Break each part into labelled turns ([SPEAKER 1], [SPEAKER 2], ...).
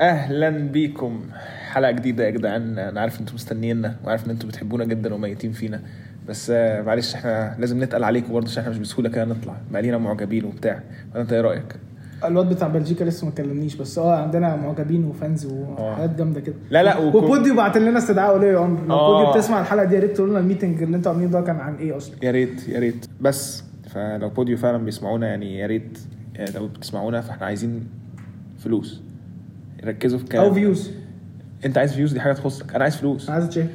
[SPEAKER 1] اهلا بيكم حلقه جديده يا جدعان انا عارف انتم مستنيينا وعارف ان انتم بتحبونا جدا وميتين فينا بس آه، معلش احنا لازم نتقل عليكم برضه عشان احنا مش بسهوله كده نطلع بقالينا معجبين وبتاع ولا انت ايه رايك؟
[SPEAKER 2] الواد بتاع بلجيكا لسه ما كلمنيش بس اه عندنا معجبين وفانز وحاجات جامده كده
[SPEAKER 1] اه. لا، لا، وكو-
[SPEAKER 2] وبودي بعت لنا استدعاء ولي امر لو
[SPEAKER 1] آه.
[SPEAKER 2] بودي بتسمع الحلقه دي يا ريت تقول لنا الميتنج اللي انتوا عاملينه ده كان عن ايه اصلا
[SPEAKER 1] يا ريت يا ريت بس فلو بوديو فعلا بيسمعونا يعني يا ريت يعني لو بتسمعونا فاحنا عايزين فلوس ركزوا في كلام
[SPEAKER 2] او فيوز
[SPEAKER 1] انت عايز فيوز دي حاجه تخصك انا عايز فلوس
[SPEAKER 2] انا عايز تشيك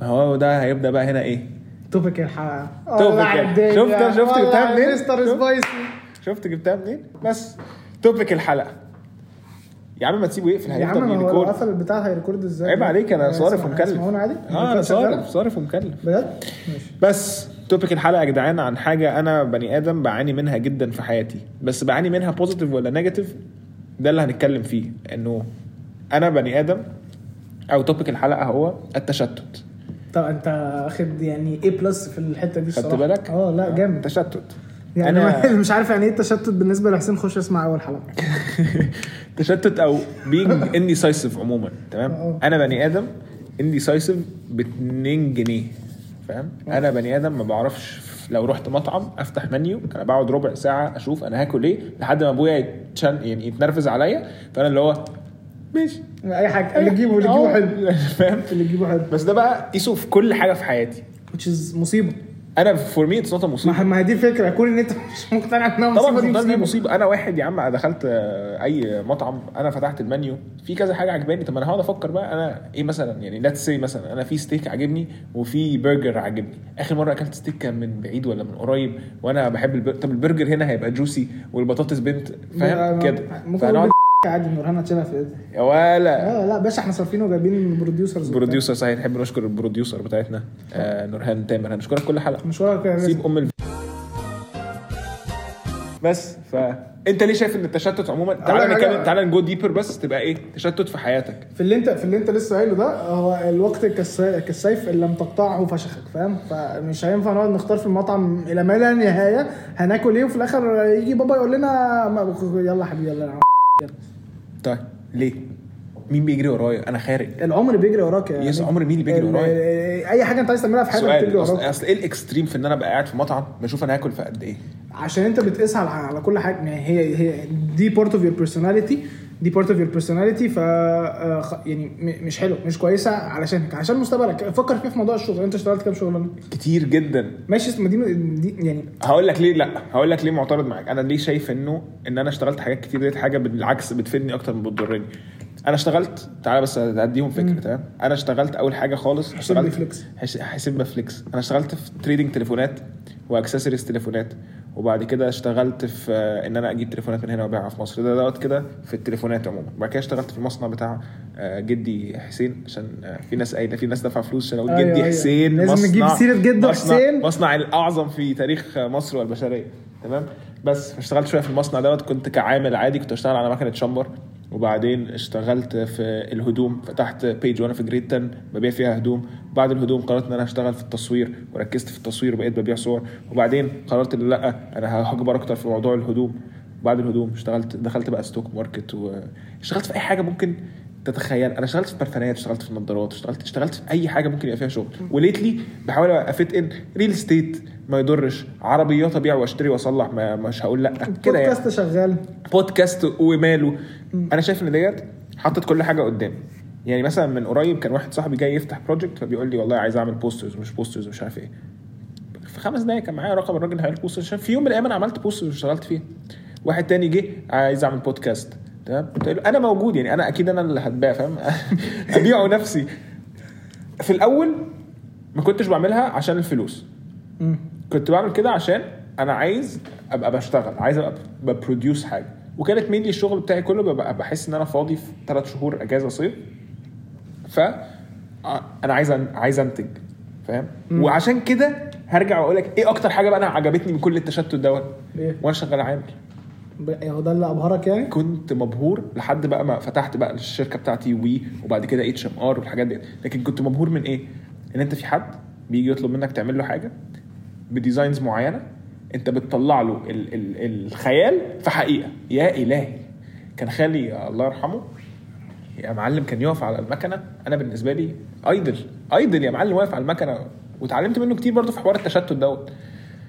[SPEAKER 1] ما هو ده هيبدأ بقى هنا ايه
[SPEAKER 2] توبيك الحلقه
[SPEAKER 1] توبيك يعني. شفت- شفت جبتها منين؟
[SPEAKER 2] مستر
[SPEAKER 1] شفت؟
[SPEAKER 2] سبايسي
[SPEAKER 1] شفت جبتها منين بس توبيك الحلقه يا عم ما تسيبه يقفل
[SPEAKER 2] يا
[SPEAKER 1] هيفضل
[SPEAKER 2] عم هو لو
[SPEAKER 1] بيريكورد
[SPEAKER 2] قفل البتاع هيريكورد ازاي يعني
[SPEAKER 1] عيب عليك انا
[SPEAKER 2] هيسمع-
[SPEAKER 1] صارف ومكلف
[SPEAKER 2] هيسمعونا عادي
[SPEAKER 1] اه انا
[SPEAKER 2] هيكون شغال؟
[SPEAKER 1] صارف صارف ومكلف
[SPEAKER 2] بجد ماشي
[SPEAKER 1] بس توبيك الحلقه يا جدعان عن حاجه انا بني ادم بعاني منها جدا في حياتي بس بعاني منها بوزيتيف ولا نيجاتيف ده اللي هنتكلم فيه انه انا بني ادم او توبيك الحلقه هو التشتت
[SPEAKER 2] طب انت اخد يعني ايه بلس في الحته دي الصراحه
[SPEAKER 1] خدت بالك
[SPEAKER 2] اه لا جامد
[SPEAKER 1] تشتت
[SPEAKER 2] يعني
[SPEAKER 1] أنا-
[SPEAKER 2] أنا... مش عارف يعني ايه التشتت بالنسبه لحسين خش اسمع اول حلقه
[SPEAKER 1] تشتت او بينج انديسايسيف عموما تمام
[SPEAKER 2] اه.
[SPEAKER 1] انا بني ادم انديسايسيف ب 2 جنيه فاهم
[SPEAKER 2] آه.
[SPEAKER 1] انا بني ادم ما بعرفش لو رحت مطعم افتح منيو انا بقعد ربع ساعه اشوف انا هاكل ايه لحد ما ابويا يتشن يعني يتنرفز عليا فانا اللي هو ماشي
[SPEAKER 2] اي حاجه اللي تجيبه اللي تجيبه
[SPEAKER 1] أه،
[SPEAKER 2] حلو
[SPEAKER 1] فاهم
[SPEAKER 2] اللي تجيبه حلو
[SPEAKER 1] بس ده بقى قيسه في كل حاجه في حياتي
[SPEAKER 2] which is مصيبه
[SPEAKER 1] انا فور مي اتس نوت مصيبه
[SPEAKER 2] ما ما هي دي الفكره كون ان انت مش مقتنع انها
[SPEAKER 1] طبعا
[SPEAKER 2] مصيبه دي
[SPEAKER 1] مصيبه دي
[SPEAKER 2] مصيبه
[SPEAKER 1] مصيبه انا واحد يا عم دخلت آه، اي مطعم انا فتحت المنيو في كذا حاجه عجباني طب ما انا هقعد افكر بقى انا ايه مثلا يعني ليتس سي مثلا انا في ستيك عاجبني وفي برجر عاجبني اخر مره اكلت ستيك كان من بعيد ولا من قريب وانا بحب البر... طب البرجر هنا هيبقى جوسي والبطاطس بنت فاهم كده
[SPEAKER 2] ممكن
[SPEAKER 1] فانا
[SPEAKER 2] اقول عادي من رهانة تشيلها في ايدها
[SPEAKER 1] يا ولا
[SPEAKER 2] لا لا باشا احنا صارفين وجايبين بروديوسرز
[SPEAKER 1] بروديوسر صحيح نحب نشكر البروديوسر بتاعتنا آه نورهان تامر هنشكرك كل حلقه
[SPEAKER 2] مش ورا كده لازم.
[SPEAKER 1] سيب ام الف... بس فانت ليه شايف ان التشتت عموما
[SPEAKER 2] أقول
[SPEAKER 1] تعالى
[SPEAKER 2] لك
[SPEAKER 1] نتكلم
[SPEAKER 2] حاجة.
[SPEAKER 1] تعالى نجو ديبر بس تبقى ايه تشتت في حياتك
[SPEAKER 2] في اللي انت في اللي انت لسه قايله ده هو الوقت كالسي- كالسيف ان لم تقطعه فشخك فاهم فمش هينفع نقعد نختار في المطعم الى ما لا نهايه هناكل ايه وفي الاخر يجي بابا يقول لنا ما- يلا يا حبيبي يلا يا عم.
[SPEAKER 1] طيب ليه مين بيجري ورايا انا خارج
[SPEAKER 2] العمر بيجري وراك يعني
[SPEAKER 1] يس، عمر مين اللي بيجري
[SPEAKER 2] ال-
[SPEAKER 1] ورايا؟
[SPEAKER 2] اي حاجه انت عايز تعملها في حياتك بتجري
[SPEAKER 1] سؤال اصل
[SPEAKER 2] وراك
[SPEAKER 1] أصل ايه الاكستريم في ان انا ابقى قاعد في مطعم بشوف انا هاكل في قد ايه
[SPEAKER 2] عشان انت بتقيس على على كل حاجه يعني هي هي دي بارت اوف يور بيرسوناليتي دي بارت اوف يور بيرسوناليتي ف آه، خ- يعني م- مش حلو مش كويسه علشانك عشان مستقبلك فكر فيه في موضوع الشغل انت اشتغلت كام شغلانه
[SPEAKER 1] كتير جدا
[SPEAKER 2] ماشي اسم- ما دي دي- يعني
[SPEAKER 1] هقول لك ليه لا هقول لك ليه معترض معاك انا ليه شايف انه ان انا اشتغلت حاجات كتير ديت حاجه بالعكس بتفيدني اكتر من بتضرني انا اشتغلت تعالى بس اديهم فكره تمام انا اشتغلت اول حاجه خالص اشتغلت
[SPEAKER 2] بفليكس.
[SPEAKER 1] حس- حاسب بفليكس انا اشتغلت في تريدنج تليفونات واكسسوارز تليفونات وبعد كده اشتغلت في آه، ان انا اجيب تليفونات من هنا وابيعها في مصر ده دوت كده في التليفونات عموما وبعد كده اشتغلت في المصنع بتاع آه، جدي حسين عشان آه، في ناس قايله في ناس دافعه فلوس عشان اقول
[SPEAKER 2] أيوة،
[SPEAKER 1] جدي
[SPEAKER 2] أيوة.
[SPEAKER 1] حسين
[SPEAKER 2] لازم
[SPEAKER 1] مصنع-
[SPEAKER 2] نجيب سيرة جده
[SPEAKER 1] مصنع-
[SPEAKER 2] حسين.
[SPEAKER 1] المصنع الاعظم في تاريخ مصر والبشريه تمام بس فاشتغلت شويه في المصنع دوت كنت كعامل عادي كنت اشتغل على مكنه شامبر وبعدين اشتغلت في الهدوم فتحت بيج وانا في جريد 10 ببيع فيها هدوم بعد الهدوم قررت ان انا هشتغل في التصوير وركزت في التصوير وبقيت ببيع صور وبعدين قررت ان لا انا هكبر اكتر في موضوع الهدوم بعد الهدوم اشتغلت دخلت بقى ستوك ماركت واشتغلت في اي حاجه ممكن تتخيل انا اشتغلت في برفانات اشتغلت في النضارات اشتغلت اشتغلت في اي حاجه ممكن يبقى فيها شغل وليتلي بحاول افيت ان ريل استيت ما يضرش عربيات ابيع واشتري واصلح ما مش هقول لا كده يعني
[SPEAKER 2] بودكاست شغال
[SPEAKER 1] بودكاست وماله انا شايف ان ديت حطت كل حاجه قدامي يعني مثلا من قريب كان واحد صاحبي جاي يفتح بروجكت فبيقول لي والله عايز اعمل بوسترز ومش بوسترز ومش عارف ايه في خمس دقايق كان معايا رقم الراجل اللي هيعمل بوسترز عشان في يوم من الايام انا عملت بوسترز واشتغلت فيها واحد تاني جه عايز اعمل بودكاست تمام قلت له انا موجود يعني انا اكيد انا اللي هتباع فاهم ابيعه نفسي في الاول ما كنتش بعملها عشان الفلوس
[SPEAKER 2] مم.
[SPEAKER 1] كنت بعمل كده عشان انا عايز ابقى بشتغل عايز ابقى ببروديوس حاجه وكانت مين الشغل بتاعي كله ببقى بحس ان انا فاضي في ثلاث شهور اجازه صيف ف ع- انا عايز أن- عايز انتج فاهم وعشان كده هرجع واقول لك ايه اكتر حاجه بقى انا عجبتني من كل التشتت دوت
[SPEAKER 2] إيه؟
[SPEAKER 1] وانا شغال عامل
[SPEAKER 2] ب- هو ده اللي ابهرك يعني
[SPEAKER 1] كنت مبهور لحد بقى ما فتحت بقى الشركه بتاعتي وي وبعد كده اتش ام ار والحاجات دي لكن كنت مبهور من ايه؟ ان انت في حد بيجي يطلب منك تعمل له حاجه بديزاينز معينه انت بتطلع له ال ال الخيال في حقيقه يا الهي كان خالي الله يرحمه يا معلم كان يقف على المكنه انا بالنسبه لي ايدل ايدل يا معلم واقف على المكنه واتعلمت منه كتير برضه في حوار التشتت دوت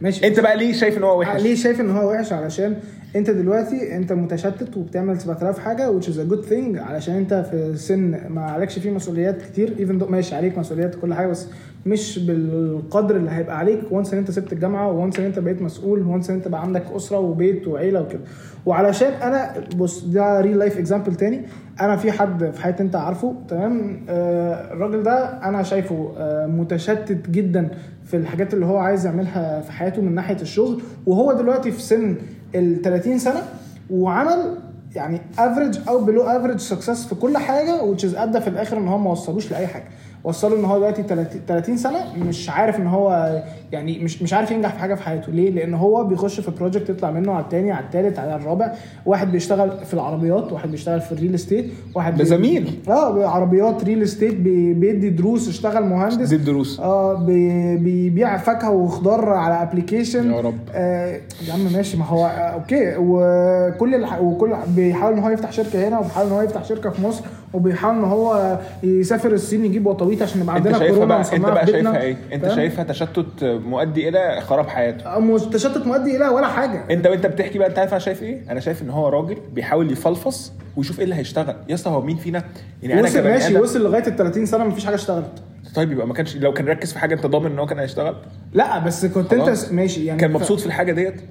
[SPEAKER 2] ماشي
[SPEAKER 1] انت بقى ليه شايف ان هو
[SPEAKER 2] آه،
[SPEAKER 1] وحش
[SPEAKER 2] ليه شايف ان هو وحش علشان انت دلوقتي انت متشتت وبتعمل 7000 حاجه which is a good thing علشان انت في سن ما عليكش فيه مسؤوليات كتير even though ماشي عليك مسؤوليات كل حاجه بس مش بالقدر اللي هيبقى عليك وانس ان انت سبت الجامعه وانس ان انت بقيت مسؤول وانس ان انت بقى عندك اسره وبيت وعيله وكده وعلشان انا بص ده ريل لايف اكزامبل تاني انا في حد في حياتي انت عارفه تمام آه الراجل ده انا شايفه آه متشتت جدا في الحاجات اللي هو عايز يعملها في حياته من ناحيه الشغل وهو دلوقتي في سن ال 30 سنه وعمل يعني افريج او بلو افريج سكسس في كل حاجه وتشيز ادى في الاخر ان هو ما وصلوش لاي حاجه وصلوا ان هو دلوقتي 30 30 سنه مش عارف ان هو يعني مش مش عارف ينجح في حاجه في حياته ليه لان هو بيخش في بروجكت يطلع منه على الثاني على الثالث على الرابع واحد بيشتغل في العربيات واحد بيشتغل في الريل استيت واحد
[SPEAKER 1] ده
[SPEAKER 2] بي-
[SPEAKER 1] زميل
[SPEAKER 2] اه عربيات ريل استيت بي- بيدي دروس اشتغل مهندس
[SPEAKER 1] دي الدروس
[SPEAKER 2] اه بي- بيبيع فاكهه وخضار على ابلكيشن
[SPEAKER 1] يا رب.
[SPEAKER 2] آه يا عم ماشي ما هو آه اوكي وكل الح... وكل بيحاول ان هو يفتح شركه هنا وبيحاول ان هو يفتح شركه في مصر وبيحاول ان هو يسافر الصين يجيب وطويت عشان يبقى
[SPEAKER 1] انت
[SPEAKER 2] عندنا
[SPEAKER 1] شايفها
[SPEAKER 2] كورونا
[SPEAKER 1] بقى انت
[SPEAKER 2] ونصنعها
[SPEAKER 1] بقى
[SPEAKER 2] في بيتنا.
[SPEAKER 1] شايفها ايه انت
[SPEAKER 2] فاهم؟
[SPEAKER 1] شايفها تشتت مؤدي الى خراب حياته
[SPEAKER 2] آه، مش تشتت مؤدي الى ولا حاجه
[SPEAKER 1] انت وانت بتحكي بقى انت عارف انا شايف ايه؟ انا شايف ان هو راجل بيحاول يفلفص ويشوف ايه اللي هيشتغل، يا اسطى هو مين فينا؟ يعني
[SPEAKER 2] وصل
[SPEAKER 1] كبني
[SPEAKER 2] ماشي
[SPEAKER 1] آدم-
[SPEAKER 2] وصل لغايه ال 30 سنه مفيش حاجه اشتغلت
[SPEAKER 1] طيب يبقى ما كانش لو كان ركز في حاجه انت ضامن ان هو كان هيشتغل؟
[SPEAKER 2] لا بس كنت
[SPEAKER 1] خلاص.
[SPEAKER 2] انت ماشي يعني
[SPEAKER 1] كان
[SPEAKER 2] ف-
[SPEAKER 1] مبسوط في الحاجه ديت؟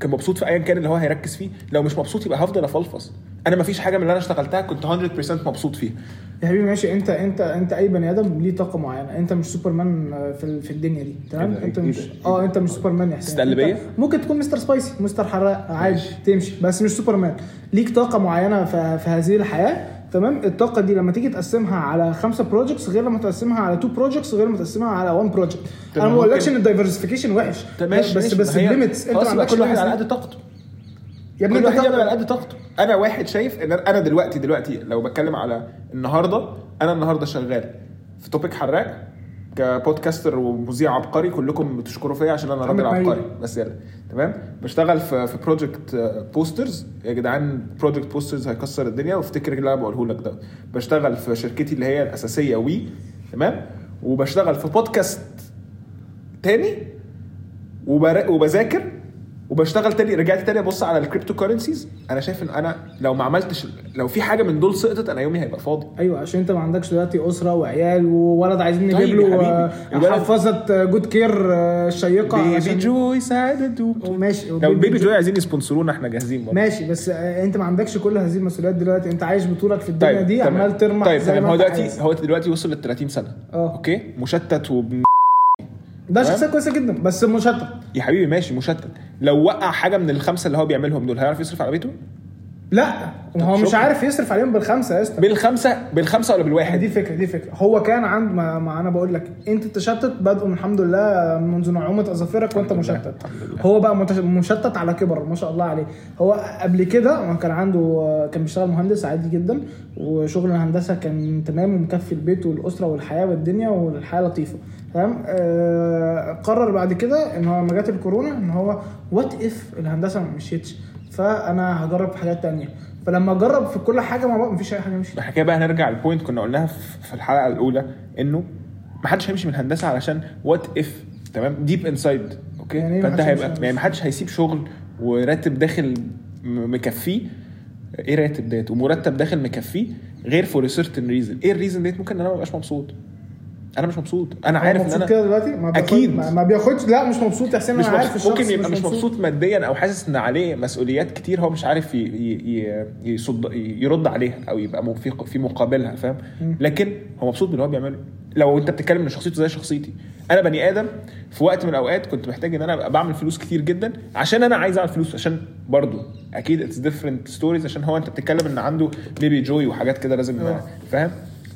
[SPEAKER 1] كان مبسوط في ايا كان اللي هو هيركز فيه، لو مش مبسوط يبقى هفضل افلفص، انا ما فيش حاجه من اللي انا اشتغلتها كنت 100% مبسوط فيها،
[SPEAKER 2] يا حبيبي ماشي انت انت انت اي بني ادم ليه طاقه معينه انت مش سوبرمان آه، في ال- في الدنيا دي تمام
[SPEAKER 1] ايه ده؟
[SPEAKER 2] انت
[SPEAKER 1] ايه
[SPEAKER 2] مش
[SPEAKER 1] ده؟ ايه
[SPEAKER 2] اه
[SPEAKER 1] ده؟
[SPEAKER 2] انت مش سوبرمان يا حسين
[SPEAKER 1] تستقلبية؟
[SPEAKER 2] انت ممكن تكون مستر سبايسي مستر حراق عادي تمشي بس مش سوبرمان ليك طاقه معينه في, في هذه الحياه تمام الطاقه دي لما تيجي تقسمها على خمسه بروجكتس غير لما تقسمها على تو بروجكتس غير لما تقسمها على وان بروجكت
[SPEAKER 1] طب
[SPEAKER 2] انا ما
[SPEAKER 1] ممكن-
[SPEAKER 2] بقولكش ان الدايفرسيفيكيشن وحش
[SPEAKER 1] طب طيب، ماشي
[SPEAKER 2] طيب، بس
[SPEAKER 1] ماشي،
[SPEAKER 2] بس
[SPEAKER 1] ما هي-
[SPEAKER 2] الليميتس انت ما
[SPEAKER 1] خلاص يبقى
[SPEAKER 2] عندكش
[SPEAKER 1] كل واحد على
[SPEAKER 2] limits.
[SPEAKER 1] قد طاقته
[SPEAKER 2] يا ابني
[SPEAKER 1] كل
[SPEAKER 2] انت
[SPEAKER 1] واحد يعمل
[SPEAKER 2] طاقتك-
[SPEAKER 1] على قد طاقته انا واحد شايف ان انا دلوقتي دلوقتي لو بتكلم على النهارده انا النهارده شغال في توبيك حراق كبودكاستر ومذيع عبقري كلكم بتشكروا فيا عشان انا راجل
[SPEAKER 2] عمك مايل.
[SPEAKER 1] عبقري بس يلا تمام بشتغل في في بروجكت بوسترز يا جدعان بروجكت بوسترز هيكسر الدنيا وافتكر اللي انا بقوله لك ده بشتغل في شركتي اللي هي الاساسيه وي تمام وبشتغل في بودكاست تاني وبر... وبذاكر وبشتغل تاني رجعت تاني ابص على الكريبتو كورنسيز انا شايف ان انا لو ما عملتش لو في حاجه من دول سقطت انا يومي هيبقى فاضي
[SPEAKER 2] ايين. ايوه عشان انت ما عندكش دلوقتي اسره وعيال وولد عايزين
[SPEAKER 1] طيب
[SPEAKER 2] نجيب
[SPEAKER 1] يا
[SPEAKER 2] له
[SPEAKER 1] حبيبي،
[SPEAKER 2] آه، حفاظه آه، جود كير آه، شيقه
[SPEAKER 1] بيبي
[SPEAKER 2] عشان-
[SPEAKER 1] جوي سعادته
[SPEAKER 2] وماشي
[SPEAKER 1] لو
[SPEAKER 2] وبيبي
[SPEAKER 1] بيبي
[SPEAKER 2] جو-
[SPEAKER 1] جوي عايزين يسبونسرونا احنا جاهزين برضه
[SPEAKER 2] ماشي بس آه، انت ما عندكش كل هذه المسؤوليات دلوقتي انت عايش بطولك في الدنيا
[SPEAKER 1] طيب
[SPEAKER 2] دي
[SPEAKER 1] تمام.
[SPEAKER 2] عمال ترمح
[SPEAKER 1] طيب
[SPEAKER 2] زي
[SPEAKER 1] تمام
[SPEAKER 2] ما
[SPEAKER 1] هو
[SPEAKER 2] انت
[SPEAKER 1] دلوقتي
[SPEAKER 2] عايز.
[SPEAKER 1] هو دلوقتي وصل لل 30 سنه
[SPEAKER 2] اه
[SPEAKER 1] اوكي مشتت وبن...
[SPEAKER 2] ده
[SPEAKER 1] تمام.
[SPEAKER 2] شخصيه كويسه جدا بس مشتت
[SPEAKER 1] يا حبيبي ماشي مشتت لو وقع حاجه من الخمسه اللي هو بيعملهم دول هيعرف يصرف على بيته
[SPEAKER 2] لا ما هو مش
[SPEAKER 1] شكرا.
[SPEAKER 2] عارف يصرف عليهم بالخمسه يا اسطى
[SPEAKER 1] بالخمسه بالخمسه ولا
[SPEAKER 2] دي
[SPEAKER 1] بالواحد
[SPEAKER 2] فكره دي فكره هو كان عند ما, ما انا بقول لك انت التشتت بدأوا من الحمد لله منذ نعومه اظافرك وانت
[SPEAKER 1] الحمد لله،
[SPEAKER 2] مشتت
[SPEAKER 1] الحمد لله.
[SPEAKER 2] هو بقى متش- مشتت على كبر ما شاء الله عليه هو قبل كده هو كان عنده كان بيشتغل مهندس عادي جدا وشغل الهندسه كان تمام ومكفي البيت والاسره والحياه والدنيا والحياه لطيفه تمام آه قرر بعد كده ان هو لما جت الكورونا ان هو وات اف الهندسه ما مشيتش فانا هجرب في حاجات تانية فلما جرب في كل حاجه مع بعض مفيش اي حاجه مشيت
[SPEAKER 1] الحكايه بقى هنرجع للبوينت كنا قلناها في في الحلقه الاولى انه محدش هيمشي من هندسه علشان وات اف تمام ديب انسايد اوكي
[SPEAKER 2] يعني إيه
[SPEAKER 1] فانت
[SPEAKER 2] محدش
[SPEAKER 1] هيبقى
[SPEAKER 2] هيمشي من
[SPEAKER 1] يعني محدش هيسيب شغل وراتب داخل م- مكفيه ايه راتب ديت ومرتب داخل مكفيه غير فور سيرتن ريزن ايه الريزن ديت ممكن ان انا ما ابقاش مبسوط انا مش مبسوط انا
[SPEAKER 2] هو
[SPEAKER 1] عارف ان
[SPEAKER 2] مبسوط
[SPEAKER 1] انا
[SPEAKER 2] كده دلوقتي ما بياخد-
[SPEAKER 1] أكيد.
[SPEAKER 2] ما ما بياخدش لا مش مبسوط يا حسين
[SPEAKER 1] مش
[SPEAKER 2] انا عارف
[SPEAKER 1] مبسوط
[SPEAKER 2] الشخص
[SPEAKER 1] ممكن يبقى مش مبسوط ماديا او حاسس ان عليه مسؤوليات كتير هو مش عارف ي- ي- ي- يصد يرد عليها او يبقى م- في في مقابلها فاهم
[SPEAKER 2] مم.
[SPEAKER 1] لكن هو مبسوط باللي هو بيعمله لو انت بتتكلم ان شخصيته زي شخصيتي انا بني ادم في وقت من الاوقات كنت محتاج ان انا ابقى بعمل فلوس كتير جدا عشان انا عايز اعمل فلوس عشان برضو اكيد اتس ديفرنت ستوريز عشان هو انت بتتكلم ان عنده بيبي جوي وحاجات كده لازم
[SPEAKER 2] آه.
[SPEAKER 1] فاهم